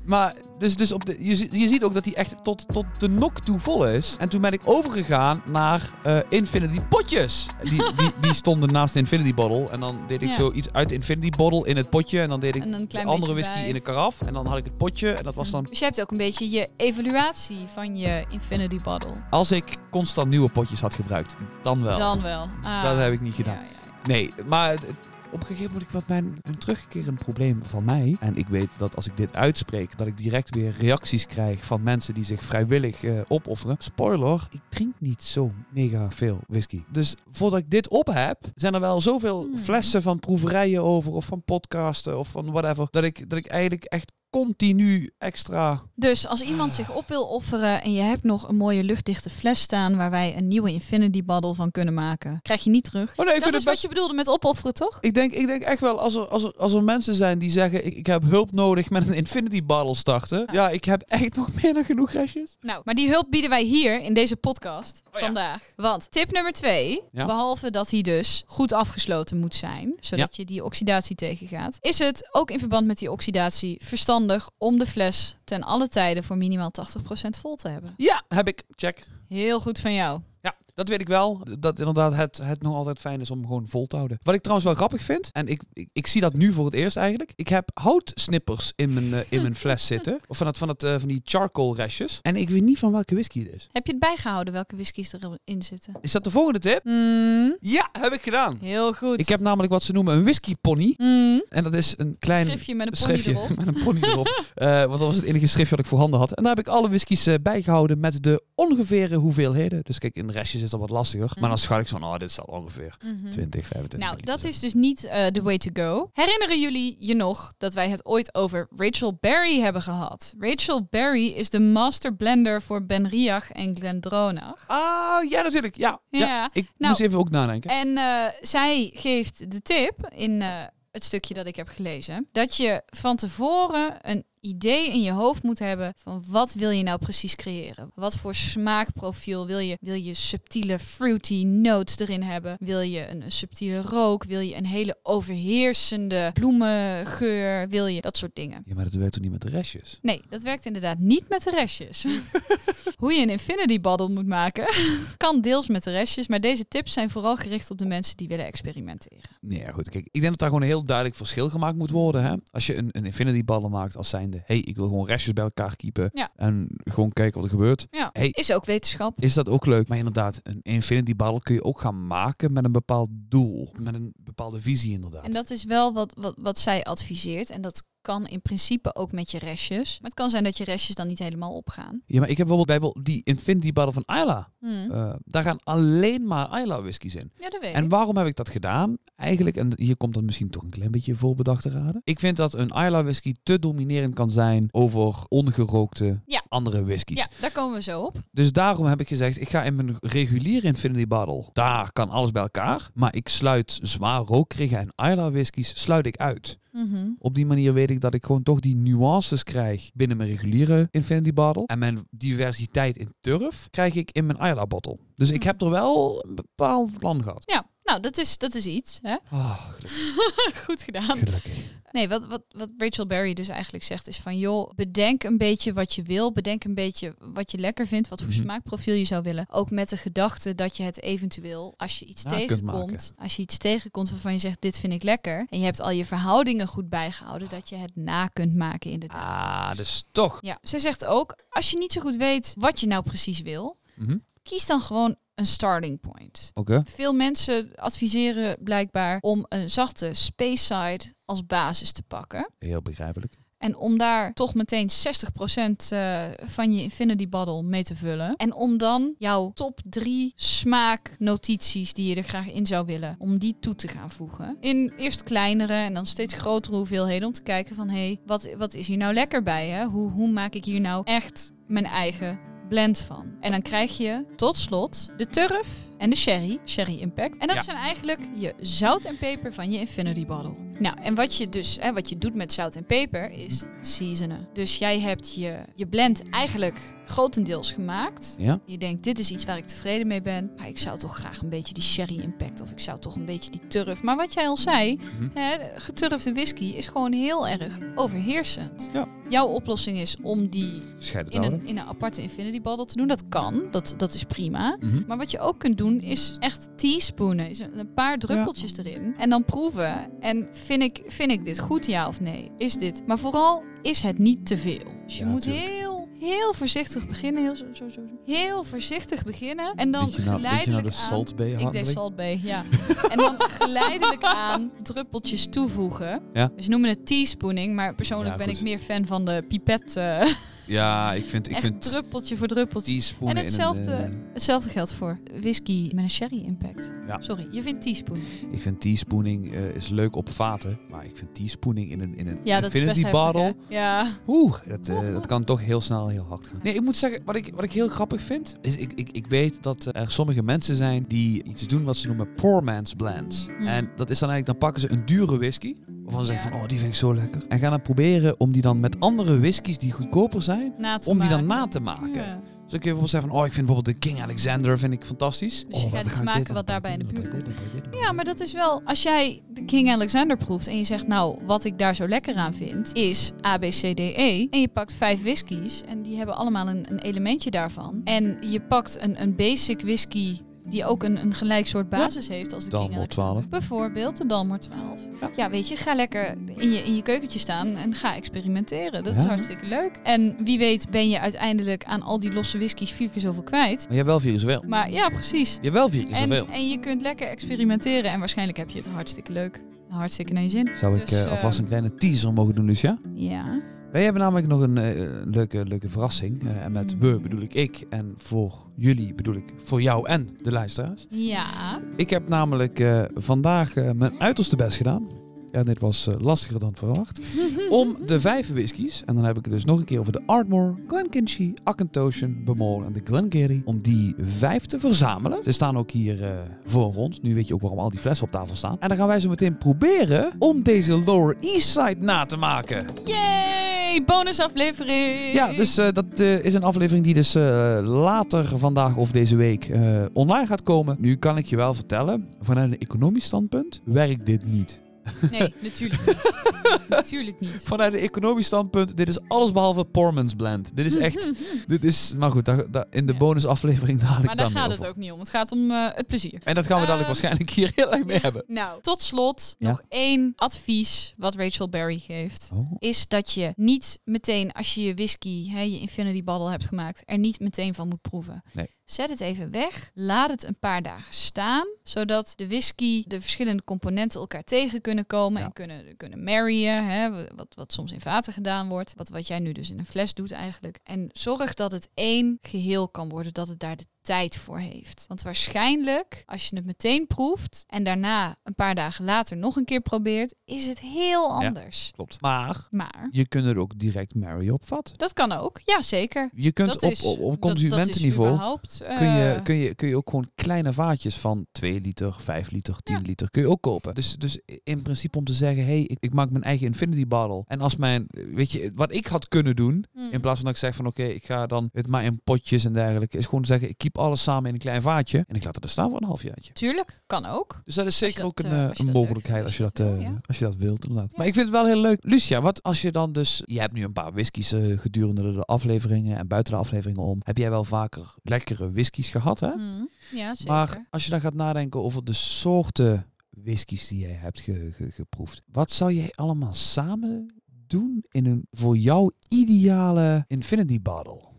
Speaker 2: maar dus, dus op de, je, zie- je ziet ook dat die echt tot, tot de nok toe vol is. En toen ben ik overgegaan naar eh, Infinity potjes. Die, die, die stonden naast de Infinity Bottle. En dan deed ik
Speaker 1: Ja.
Speaker 2: zoiets uit de Infinity Bottle in het potje. En dan deed ik
Speaker 1: En een
Speaker 2: de
Speaker 1: klein
Speaker 2: andere
Speaker 1: beetje
Speaker 2: whisky
Speaker 1: bij.
Speaker 2: in een karaf. En dan had ik het potje. En dat was dan...
Speaker 1: Dus je hebt ook een beetje je evaluatie van je Infinity Bottle.
Speaker 2: Als ik constant nieuwe potjes had gebruikt, dan wel.
Speaker 1: Dan wel. Ah.
Speaker 2: Dat heb ik niet gedaan.
Speaker 1: Ja, ja, ja.
Speaker 2: Nee, maar het- het- op een gegeven moment was mijn een terugkerend probleem van mij. En ik weet dat als ik dit uitspreek, dat ik direct weer reacties krijg van mensen die zich vrijwillig eh, opofferen. Spoiler, ik drink niet zo mega veel whisky. Dus voordat ik dit op heb, zijn er wel zoveel
Speaker 1: Hmm.
Speaker 2: flessen van proeverijen over of van podcasten of van whatever. Dat ik, dat ik eigenlijk echt continu extra... Oh
Speaker 1: Dus als
Speaker 2: Ah.
Speaker 1: iemand zich op wil offeren en je hebt nog een mooie luchtdichte fles staan waar wij een nieuwe Infinity Bottle van kunnen maken, krijg je niet terug.
Speaker 2: Oh nee, ik
Speaker 1: dat
Speaker 2: vind
Speaker 1: is
Speaker 2: het
Speaker 1: wat
Speaker 2: best...
Speaker 1: je bedoelde met opofferen, toch?
Speaker 2: Ik denk, ik denk echt wel, als er, als, er, als er mensen zijn die zeggen... Ik, ik heb hulp nodig met een Infinity Bottle starten. Ja, ik heb echt nog meer dan genoeg restjes.
Speaker 1: Nou, maar die hulp bieden wij hier in deze podcast
Speaker 2: Oh ja.
Speaker 1: vandaag. Want tip nummer twee,
Speaker 2: Ja.
Speaker 1: behalve dat hij dus goed afgesloten moet zijn, zodat je die oxidatie tegengaat, is het ook in verband met die oxidatie verstandig om de fles ten alle tijden voor minimaal 80% vol te hebben.
Speaker 2: Ja, heb ik. Check.
Speaker 1: Heel goed van jou.
Speaker 2: Ja, dat weet ik wel. Dat inderdaad het, het nog altijd fijn is om gewoon vol te houden. Wat ik trouwens wel grappig vind, en ik, ik, ik zie dat nu voor het eerst eigenlijk. Ik heb houtsnippers in mijn, eh, in mijn fles zitten. Of van, dat, van, dat, eh, van die charcoal restjes. En ik weet niet van welke whisky het is.
Speaker 1: Heb je het bijgehouden welke whiskies erin zitten?
Speaker 2: Is dat de volgende tip?
Speaker 1: Mm,
Speaker 2: Ja, heb ik gedaan.
Speaker 1: heel goed.
Speaker 2: Ik heb namelijk wat ze noemen een whisky pony.
Speaker 1: Mm.
Speaker 2: En dat is een klein
Speaker 1: Schriftje met een pony
Speaker 2: schriftje
Speaker 1: erop.
Speaker 2: met een pony erop. Eh, want dat was het enige schriftje dat ik voorhanden had. En daar heb ik alle whiskies eh, bijgehouden met de ongevere hoeveelheden. Dus kijk, in de restjes is dat wat lastiger. Maar dan schat ik zo van, oh, dit zal ongeveer
Speaker 1: Mhm.
Speaker 2: 20,
Speaker 1: Mm.
Speaker 2: 25
Speaker 1: Nou,
Speaker 2: liter
Speaker 1: dat is dus niet eh, de way to go. Herinneren jullie je nog dat wij het ooit over Rachel Berry hebben gehad? Rachel Berry is de master blender voor Benriach en Glendronach.
Speaker 2: zijn. Ah, ja, natuurlijk. Ja, ja.
Speaker 1: Ja,
Speaker 2: ik
Speaker 1: nou-
Speaker 2: moest even ook nadenken.
Speaker 1: En eh, zij geeft de tip in eh, het stukje dat ik heb gelezen. Dat je van tevoren een idee in je hoofd moet hebben van wat wil je nou precies creëren? Wat voor smaakprofiel wil je? Wil je subtiele fruity notes erin hebben? Wil je een, een subtiele rook? Wil je een hele overheersende bloemengeur? Wil je dat soort dingen?
Speaker 2: Ja, maar dat werkt toch niet met de restjes?
Speaker 1: Nee, dat werkt inderdaad niet met de restjes. Hoe je een infinity bottle moet maken, kan deels met de restjes. Maar deze tips zijn vooral gericht op de mensen die willen experimenteren.
Speaker 2: Nee, ja, goed. Kijk, ik denk dat daar gewoon een heel duidelijk verschil gemaakt moet worden. Hè? Als je een, een infinity ballen maakt als zijnde... hey, ik wil gewoon restjes bij elkaar keepen.
Speaker 1: Ja.
Speaker 2: En gewoon kijken wat er gebeurt.
Speaker 1: Ja,
Speaker 2: Hey.
Speaker 1: is ook wetenschap.
Speaker 2: Is dat ook leuk? Maar inderdaad, een infinity bottle kun je ook gaan maken met een bepaald doel. Met een bepaalde visie inderdaad.
Speaker 1: En dat is wel wat, wat, wat zij adviseert. En dat kan in principe ook met je restjes. Maar het kan zijn dat je restjes dan niet helemaal opgaan.
Speaker 2: Ja, maar ik heb bijvoorbeeld bij die Infinity Bottle van Isla.
Speaker 1: Hm.
Speaker 2: Eh, daar gaan alleen maar Isla whiskies in.
Speaker 1: Ja, dat weet
Speaker 2: En
Speaker 1: ik.
Speaker 2: waarom heb ik dat gedaan? Eigenlijk, en hier komt dan misschien toch een klein beetje voorbedacht te raden. Ik vind dat een Isla whisky te dominerend kan zijn over ongerookte
Speaker 1: Ja.
Speaker 2: andere whiskies.
Speaker 1: Ja, daar komen we zo op.
Speaker 2: Dus daarom heb ik gezegd, ik ga in mijn reguliere Infinity Bottle. Daar kan alles bij elkaar. Maar ik sluit zwaar rokerige en Isla whiskies sluit ik uit.
Speaker 1: Mhm.
Speaker 2: Op die manier weet ik dat ik gewoon toch die nuances krijg binnen mijn reguliere Infinity Bottle. En mijn diversiteit in turf krijg ik in mijn Isla Bottle. Dus ik
Speaker 1: Hm.
Speaker 2: heb er wel een bepaald plan gehad.
Speaker 1: Ja, nou, dat is, dat is iets. Hè?
Speaker 2: Ah, gelukkig.
Speaker 1: Goed gedaan.
Speaker 2: gelukkig.
Speaker 1: Nee, wat, wat, wat Rachel Berry dus eigenlijk zegt is van... joh, bedenk een beetje wat je wil. Bedenk een beetje wat je lekker vindt. Wat voor
Speaker 2: Mhm.
Speaker 1: smaakprofiel je zou willen. Ook met de gedachte dat je het eventueel, als je iets
Speaker 2: Na kunt
Speaker 1: tegenkomt... als je iets tegenkomt waarvan je zegt, dit vind ik lekker... en je hebt al je verhoudingen goed bijgehouden... dat je het na kunt maken inderdaad.
Speaker 2: Ah, dus toch.
Speaker 1: Ja, ze zegt ook, als je niet zo goed weet wat je nou precies wil...
Speaker 2: Mhm.
Speaker 1: kies dan gewoon een starting point.
Speaker 2: Oké.
Speaker 1: Veel mensen adviseren blijkbaar om een zachte space side als basis te pakken.
Speaker 2: Heel begrijpelijk.
Speaker 1: En om daar toch meteen 60% eh, van je Infinity Bottle mee te vullen. En om dan jouw top 3 smaaknotities die je er graag in zou willen, om die toe te gaan voegen. In eerst kleinere en dan steeds grotere hoeveelheden om te kijken van hé, hey, wat, wat is hier nou lekker bij? Hè? Hoe, hoe maak ik hier nou echt mijn eigen blend van? En dan krijg je tot slot de turf en de sherry, sherry impact. En dat
Speaker 2: Ja.
Speaker 1: zijn eigenlijk je zout en peper van je Infinity Bottle. Nou, en wat je dus, hè, wat je doet met zout en peper is seasonen. Dus jij hebt je, je blend eigenlijk grotendeels gemaakt.
Speaker 2: Ja?
Speaker 1: Je denkt, dit is iets waar ik tevreden mee ben. Maar ik zou toch graag een beetje die sherry impact. Of ik zou toch een beetje die turf. Maar wat jij al zei,
Speaker 2: Mhm.
Speaker 1: hè, geturfde whisky is gewoon heel erg overheersend.
Speaker 2: Ja.
Speaker 1: Jouw oplossing is om die
Speaker 2: Scheiden
Speaker 1: in
Speaker 2: houden.
Speaker 1: een, in een aparte Infinity Bottle te doen. Dat kan, dat, dat is prima.
Speaker 2: Mhm.
Speaker 1: Maar wat je ook kunt doen is echt teaspoenen. Is een een paar druppeltjes erin. En dan proeven. En vind ik, vind ik dit goed, ja of nee? Is dit. Maar vooral is het niet te veel. Dus je
Speaker 2: Ja,
Speaker 1: moet
Speaker 2: tuurlijk.
Speaker 1: heel, heel voorzichtig beginnen. Heel, zo, zo, zo, heel voorzichtig beginnen. En dan
Speaker 2: Weet je nou- weet je nou
Speaker 1: geleidelijk
Speaker 2: de
Speaker 1: aan.
Speaker 2: Salt Bay
Speaker 1: Ik deed
Speaker 2: handeling?
Speaker 1: Salt Bay, ja. en dan geleidelijk aan druppeltjes toevoegen.
Speaker 2: Ja.
Speaker 1: Dus noemen het teaspooning, maar persoonlijk
Speaker 2: Ja,
Speaker 1: ben
Speaker 2: goed.
Speaker 1: ik meer fan van de pipet. eh,
Speaker 2: Ja, ik vind, ik
Speaker 1: echt
Speaker 2: vind
Speaker 1: druppeltje voor druppeltje.
Speaker 2: teaspoenen
Speaker 1: En hetzelfde-
Speaker 2: in een, eh,
Speaker 1: Hetzelfde geldt voor whisky met een sherry impact.
Speaker 2: Ja.
Speaker 1: Sorry, je vindt teaspoon.
Speaker 2: eh, ik vind teaspooning eh, is leuk op vaten, maar ik vind teaspooning in een, in een
Speaker 1: Ja, dat is
Speaker 2: Infinity
Speaker 1: best
Speaker 2: Bottle...
Speaker 1: heftig, hè? Ja.
Speaker 2: Oeh, dat, eh, dat kan toch heel snel heel hard gaan. Nee, ik moet zeggen, wat ik, wat ik heel grappig vind, is ik, ik, ik weet dat eh, er sommige mensen zijn die iets doen wat ze noemen poor man's blends.
Speaker 1: Hmm.
Speaker 2: En dat is dan eigenlijk, dan pakken ze een dure whisky, waarvan ze zeggen
Speaker 1: Ja.
Speaker 2: van, oh, die vind ik zo lekker. En gaan dan proberen om die dan met andere whiskies die goedkoper zijn,
Speaker 1: Na te
Speaker 2: om die dan
Speaker 1: maken.
Speaker 2: na te maken.
Speaker 1: Ja.
Speaker 2: Zo kun je bijvoorbeeld zeggen van, oh, ik vind bijvoorbeeld de King Alexander vind ik fantastisch.
Speaker 1: Dus je gaat
Speaker 2: oh, dan
Speaker 1: iets
Speaker 2: ga ik
Speaker 1: maken
Speaker 2: dit
Speaker 1: wat
Speaker 2: dan
Speaker 1: daarbij in de
Speaker 2: doen,
Speaker 1: buurt
Speaker 2: dan dit, dan dit, dan
Speaker 1: ja, maar dat is wel... Als jij de King Alexander proeft en je zegt... Nou, wat ik daar zo lekker aan vind is ABCDE. E." En je pakt vijf whiskies en die hebben allemaal een, een elementje daarvan. En je pakt een, een basic whisky die ook een, een gelijk soort basis heeft als de
Speaker 2: Dan
Speaker 1: King
Speaker 2: wordt
Speaker 1: Alexander.
Speaker 2: 12.
Speaker 1: Bijvoorbeeld de Dalmor 12.
Speaker 2: Ja.
Speaker 1: Ja. weet je, ga lekker in je, in je keukentje staan en ga experimenteren. Dat is
Speaker 2: Ja.
Speaker 1: hartstikke leuk. En wie weet ben je uiteindelijk aan al die losse whiskies vier keer zoveel kwijt.
Speaker 2: Maar je hebt wel vier keer zoveel.
Speaker 1: Maar ja, precies.
Speaker 2: Je hebt wel vier keer
Speaker 1: En,
Speaker 2: zoveel.
Speaker 1: en je kunt lekker experimenteren en waarschijnlijk heb je het hartstikke leuk. Hartstikke naar je zin.
Speaker 2: Zou ik
Speaker 1: Dus,
Speaker 2: eh, alvast
Speaker 1: eh,
Speaker 2: een kleine teaser mogen doen, Lucia?
Speaker 1: Ja.
Speaker 2: Wij hebben namelijk nog een eh, leuke, leuke verrassing. Eh, en met we bedoel ik ik. En voor jullie bedoel ik voor jou en de luisteraars.
Speaker 1: Ja.
Speaker 2: Ik heb namelijk eh, vandaag eh, mijn uiterste best gedaan. En dit was eh, lastiger dan verwacht. Om de vijf whiskies. En dan heb ik het dus nog een keer over de Ardmore, Glenkinchie, Accantoshan, Bemore en de Glengarry. Om die vijf te verzamelen. Ze staan ook hier eh, voor ons. Nu weet je ook waarom al die flessen op tafel staan. En dan gaan wij zo meteen proberen om deze Lower East Side na te maken.
Speaker 1: Yay! Bonusaflevering!
Speaker 2: Ja, dus eh, dat eh, is een aflevering die dus eh, later vandaag of deze week eh, online gaat komen. Nu kan ik je wel vertellen, vanuit een economisch standpunt werkt dit niet.
Speaker 1: Nee, natuurlijk niet. natuurlijk niet.
Speaker 2: Vanuit een economisch standpunt, dit is alles behalve Porman's Blend. Dit is echt, dit is, maar goed, daar, daar- in de
Speaker 1: Ja.
Speaker 2: bonusaflevering dadelijk
Speaker 1: Maar daar
Speaker 2: dan weer
Speaker 1: gaat het
Speaker 2: over.
Speaker 1: ook niet om. Het gaat om eh, het plezier.
Speaker 2: En dat gaan we dadelijk
Speaker 1: Ehm.
Speaker 2: waarschijnlijk hier heel erg mee hebben.
Speaker 1: Nou, tot slot
Speaker 2: Ja.
Speaker 1: nog één advies wat Rachel Berry geeft.
Speaker 2: Oh,
Speaker 1: Is dat je niet meteen, als je je whisky, hè, je Infinity Bottle hebt gemaakt, er niet meteen van moet proeven.
Speaker 2: Nee.
Speaker 1: Zet het even weg. Laat het een paar dagen staan. Zodat de whisky, de verschillende componenten elkaar tegen kunnen komen.
Speaker 2: Ja.
Speaker 1: En kunnen, kunnen marryen. Hè, wat, wat soms in vaten gedaan wordt. Wat, wat jij nu dus in een fles doet eigenlijk. En zorg dat het één geheel kan worden. Dat het daar de tijd voor heeft. Want waarschijnlijk, als je het meteen proeft. En daarna een paar dagen later nog een keer probeert. Is het heel
Speaker 2: Ja.
Speaker 1: anders.
Speaker 2: Klopt. Maar
Speaker 1: Maar
Speaker 2: je kunt er ook direct Mary op vatten.
Speaker 1: dat kan ook. Ja, zeker.
Speaker 2: Je kunt
Speaker 1: Dat
Speaker 2: op,
Speaker 1: is-
Speaker 2: op, op
Speaker 1: dat- dat is
Speaker 2: consumentenniveau
Speaker 1: überhaupt, eh,
Speaker 2: kun, je, kun, je, kun je ook gewoon kleine vaatjes van 2 liter, 5 liter, 10
Speaker 1: Ja.
Speaker 2: liter kun je ook kopen. Dus, dus in principe om te zeggen, hey, ik, ik maak mijn eigen infinity bottle. En als mijn, weet je, wat ik had kunnen doen,
Speaker 1: Mm.
Speaker 2: in plaats van dat ik zeg van oké, ik ga dan het maar in potjes en dergelijke, is gewoon zeggen, ik keep alles samen in een klein vaatje en ik laat het er staan voor een halfjaartje.
Speaker 1: Tuurlijk, kan ook.
Speaker 2: Dus dat is zeker
Speaker 1: je
Speaker 2: ook
Speaker 1: dat,
Speaker 2: een,
Speaker 1: eh,
Speaker 2: eh,
Speaker 1: als je
Speaker 2: een
Speaker 1: dat leuk
Speaker 2: mogelijkheid
Speaker 1: vindt,
Speaker 2: als
Speaker 1: als
Speaker 2: je dat,
Speaker 1: je dat
Speaker 2: eh,
Speaker 1: wil, ja.
Speaker 2: als je dat wilt, inderdaad.
Speaker 1: Ja.
Speaker 2: Maar ik vind het wel heel leuk. Lucia, wat als je dan dus... Je hebt nu een paar whiskies eh, gedurende de afleveringen en buiten de afleveringen om. Heb jij wel vaker lekkere whiskies gehad, hè?
Speaker 1: Mm. Ja, zeker.
Speaker 2: Maar als je dan gaat nadenken over de soorten whiskies die jij hebt ge- ge- geproefd. Wat zou jij allemaal samen doen in een voor jou ideale infinity bottle?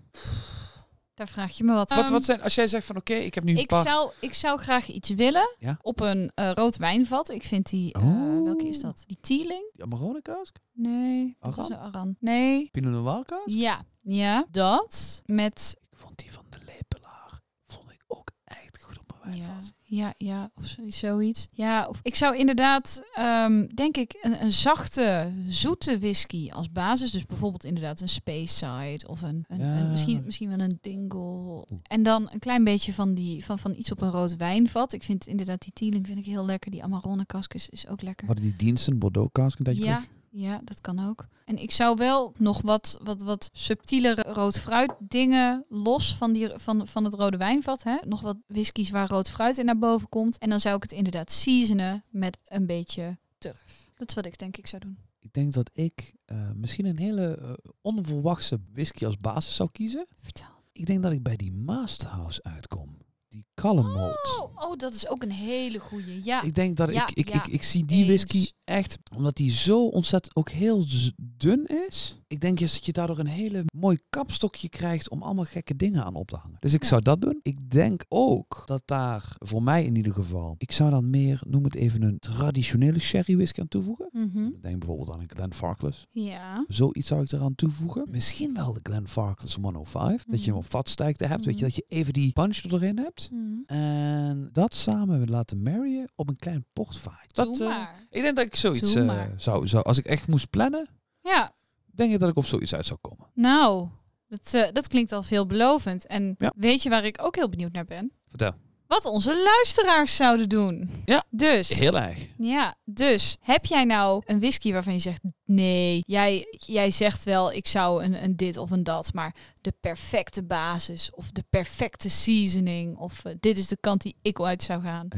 Speaker 1: Daar vraag je me wat.
Speaker 2: wat,
Speaker 1: Ehm,
Speaker 2: wat zijn, als jij zegt van oké, ik heb nu een
Speaker 1: ik,
Speaker 2: paar...
Speaker 1: zou, ik zou graag iets willen
Speaker 2: Ja?
Speaker 1: op een eh, rood wijnvat. Ik vind die... eh,
Speaker 2: Oh.
Speaker 1: Welke is dat? Die Teeling?
Speaker 2: Amarone kaas?
Speaker 1: Nee. Dat
Speaker 2: Aran?
Speaker 1: is een Aran. Nee.
Speaker 2: Pinot Noir kaas?
Speaker 1: Ja. Ja. Dat met...
Speaker 2: Ik vond die van de lepelaar vond ik ook echt goed op mijn
Speaker 1: Ja. Ja, ja, of zo- zoiets. Ja, of ik zou inderdaad, ehm, denk ik, een, een zachte, zoete whisky als basis. Dus bijvoorbeeld inderdaad een Space Side of een, een,
Speaker 2: Ja.
Speaker 1: een- misschien, misschien wel een Dingle. En dan een klein beetje van, die, van, van iets op een rood wijnvat. Ik vind inderdaad die Teeling vind ik heel lekker. Die Amarone kask is, is ook lekker.
Speaker 2: Hadden die diensten, Bordeaux kaas een tijdje
Speaker 1: Ja,
Speaker 2: terug?
Speaker 1: ja, dat kan ook. En ik zou wel nog wat, wat, wat subtielere rood fruit dingen los van, die, van, van het rode wijnvat. Hè? Nog wat whiskies waar rood fruit in naar boven komt. En dan zou ik het inderdaad seasonen met een beetje turf. Dat is wat ik denk ik zou doen.
Speaker 2: Ik denk dat ik eh, misschien een hele eh, onverwachte whisky als basis zou kiezen.
Speaker 1: Vertel.
Speaker 2: Ik denk dat ik bij die Maasthouse uitkom. Die Callum Malt.
Speaker 1: Oh, oh, dat is ook een hele goeie. Ja,
Speaker 2: Ik denk dat
Speaker 1: Ja,
Speaker 2: ik, ik,
Speaker 1: ja.
Speaker 2: ik, ik zie die whisky
Speaker 1: Eens.
Speaker 2: echt, omdat die zo ontzettend ook heel z- dun is. Ik denk juist dat je daardoor een hele mooi kapstokje krijgt om allemaal gekke dingen aan op te hangen. Dus ik
Speaker 1: Ja.
Speaker 2: zou dat doen. Ik denk ook dat daar, voor mij in ieder geval, ik zou dan meer, noem het even een traditionele sherry whisky aan toevoegen.
Speaker 1: Mhm.
Speaker 2: Ik denk bijvoorbeeld aan een Glenfarclas.
Speaker 1: ja.
Speaker 2: Zoiets zou ik eraan toevoegen. Misschien wel de Glenfarclas 105. Dat je hem
Speaker 1: Mhm.
Speaker 2: op vatstijgte hebt. Weet je,
Speaker 1: Mhm.
Speaker 2: dat je even die punch erin hebt.
Speaker 1: Mhm.
Speaker 2: En dat samen laten marryen op een klein portvaart. Dat,
Speaker 1: Doe
Speaker 2: eh,
Speaker 1: maar.
Speaker 2: ik denk dat ik zoiets
Speaker 1: Doe
Speaker 2: eh,
Speaker 1: maar.
Speaker 2: zou, zou, als ik echt moest plannen,
Speaker 1: Ja,
Speaker 2: denk ik dat ik op zoiets uit zou komen.
Speaker 1: nou, dat, eh, dat klinkt al veelbelovend. En
Speaker 2: Ja.
Speaker 1: weet je waar ik ook heel benieuwd naar ben?
Speaker 2: Vertel.
Speaker 1: wat onze luisteraars zouden doen.
Speaker 2: Ja.
Speaker 1: Dus.
Speaker 2: Heel erg.
Speaker 1: ja, dus heb jij nou een whisky waarvan je zegt: nee, jij, jij zegt wel, ik zou een, een dit of een dat, maar de perfecte basis of de perfecte seasoning of eh, dit is de kant die ik uit zou gaan?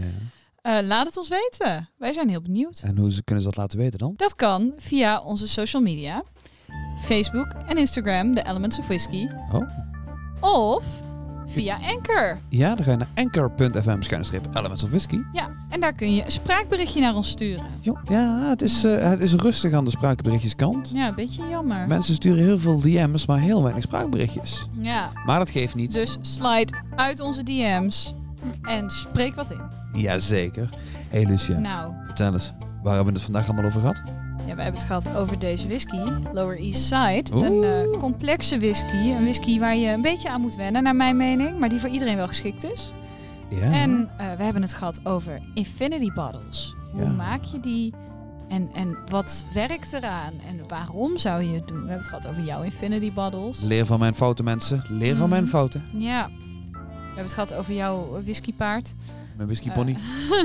Speaker 1: Eh, laat het ons weten. Wij zijn heel benieuwd.
Speaker 2: En hoe ze, kunnen ze dat laten weten dan?
Speaker 1: Dat kan via onze social media: Facebook en Instagram, The Elements of Whisky,
Speaker 2: Oh.
Speaker 1: of via Anchor.
Speaker 2: Ja, dan ga je naar anchor.fm schuinstrip elements of whisky.
Speaker 1: Ja, en daar kun je een spraakberichtje naar ons sturen.
Speaker 2: Jo, ja, het is, eh, het is rustig aan de spraakberichtjeskant.
Speaker 1: Ja, een beetje jammer.
Speaker 2: Mensen sturen heel veel DM's, maar heel weinig spraakberichtjes.
Speaker 1: Ja,
Speaker 2: Maar dat geeft niet.
Speaker 1: dus slide uit onze DM's en spreek wat in.
Speaker 2: Jazeker. Hé hey Lucia,
Speaker 1: Nou,
Speaker 2: vertel eens. Waar hebben we het vandaag allemaal over gehad?
Speaker 1: ja, we hebben het gehad over deze whisky, Lower East Side.
Speaker 2: Oeh.
Speaker 1: Een eh, complexe whisky, een whisky waar je een beetje aan moet wennen, naar mijn mening, maar die voor iedereen wel geschikt is.
Speaker 2: Ja.
Speaker 1: En eh, we hebben het gehad over infinity bottles.
Speaker 2: Ja.
Speaker 1: Hoe maak je die? En, en wat werkt eraan? En waarom zou je het doen? We hebben het gehad over jouw infinity bottles.
Speaker 2: Leer van mijn fouten, mensen. Leer van
Speaker 1: Mhm.
Speaker 2: mijn fouten.
Speaker 1: Ja. We hebben het gehad over jouw whiskypaard.
Speaker 2: Mijn whisky pony.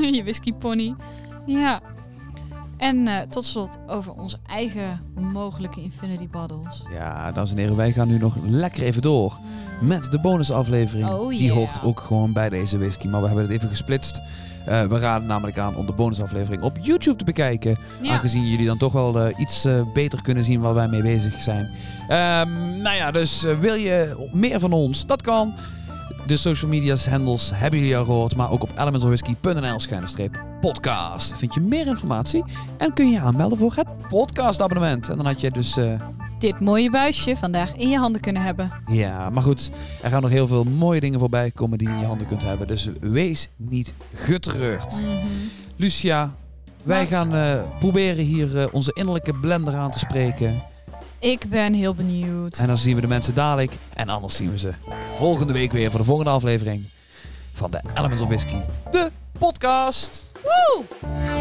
Speaker 1: Eh, je whiskypony. Ja. En eh, tot slot over onze eigen mogelijke Infinity Bottles.
Speaker 2: Ja, dames en heren, wij gaan nu nog lekker even door Mm. met de bonusaflevering.
Speaker 1: Oh,
Speaker 2: Die
Speaker 1: yeah.
Speaker 2: hoort ook gewoon bij deze whisky, maar we hebben het even gesplitst. Eh, we raden namelijk aan om de bonusaflevering op YouTube te bekijken.
Speaker 1: Ja.
Speaker 2: Aangezien jullie dan toch wel eh, iets eh, beter kunnen zien waar wij mee bezig zijn. Ehm, nou ja, dus eh, wil je meer van ons? Dat kan. De social media's handles hebben jullie al gehoord. Maar ook op elementalwhisky.nl schuine podcast. Vind je meer informatie en kun je je aanmelden voor het podcastabonnement. En dan had je dus eh,
Speaker 1: dit mooie buisje vandaag in je handen kunnen hebben.
Speaker 2: Ja, maar goed, er gaan nog heel veel mooie dingen voorbij komen die je in je handen kunt hebben. Dus wees niet
Speaker 1: Mm.
Speaker 2: getreurd. Lucia, wij
Speaker 1: Maar-
Speaker 2: gaan eh, proberen hier eh, onze innerlijke blender aan te spreken.
Speaker 1: Ik ben heel benieuwd.
Speaker 2: En dan zien we de mensen dadelijk. En anders zien we ze volgende week weer voor de volgende aflevering van de Elements of Whisky, de podcast.
Speaker 1: Woe!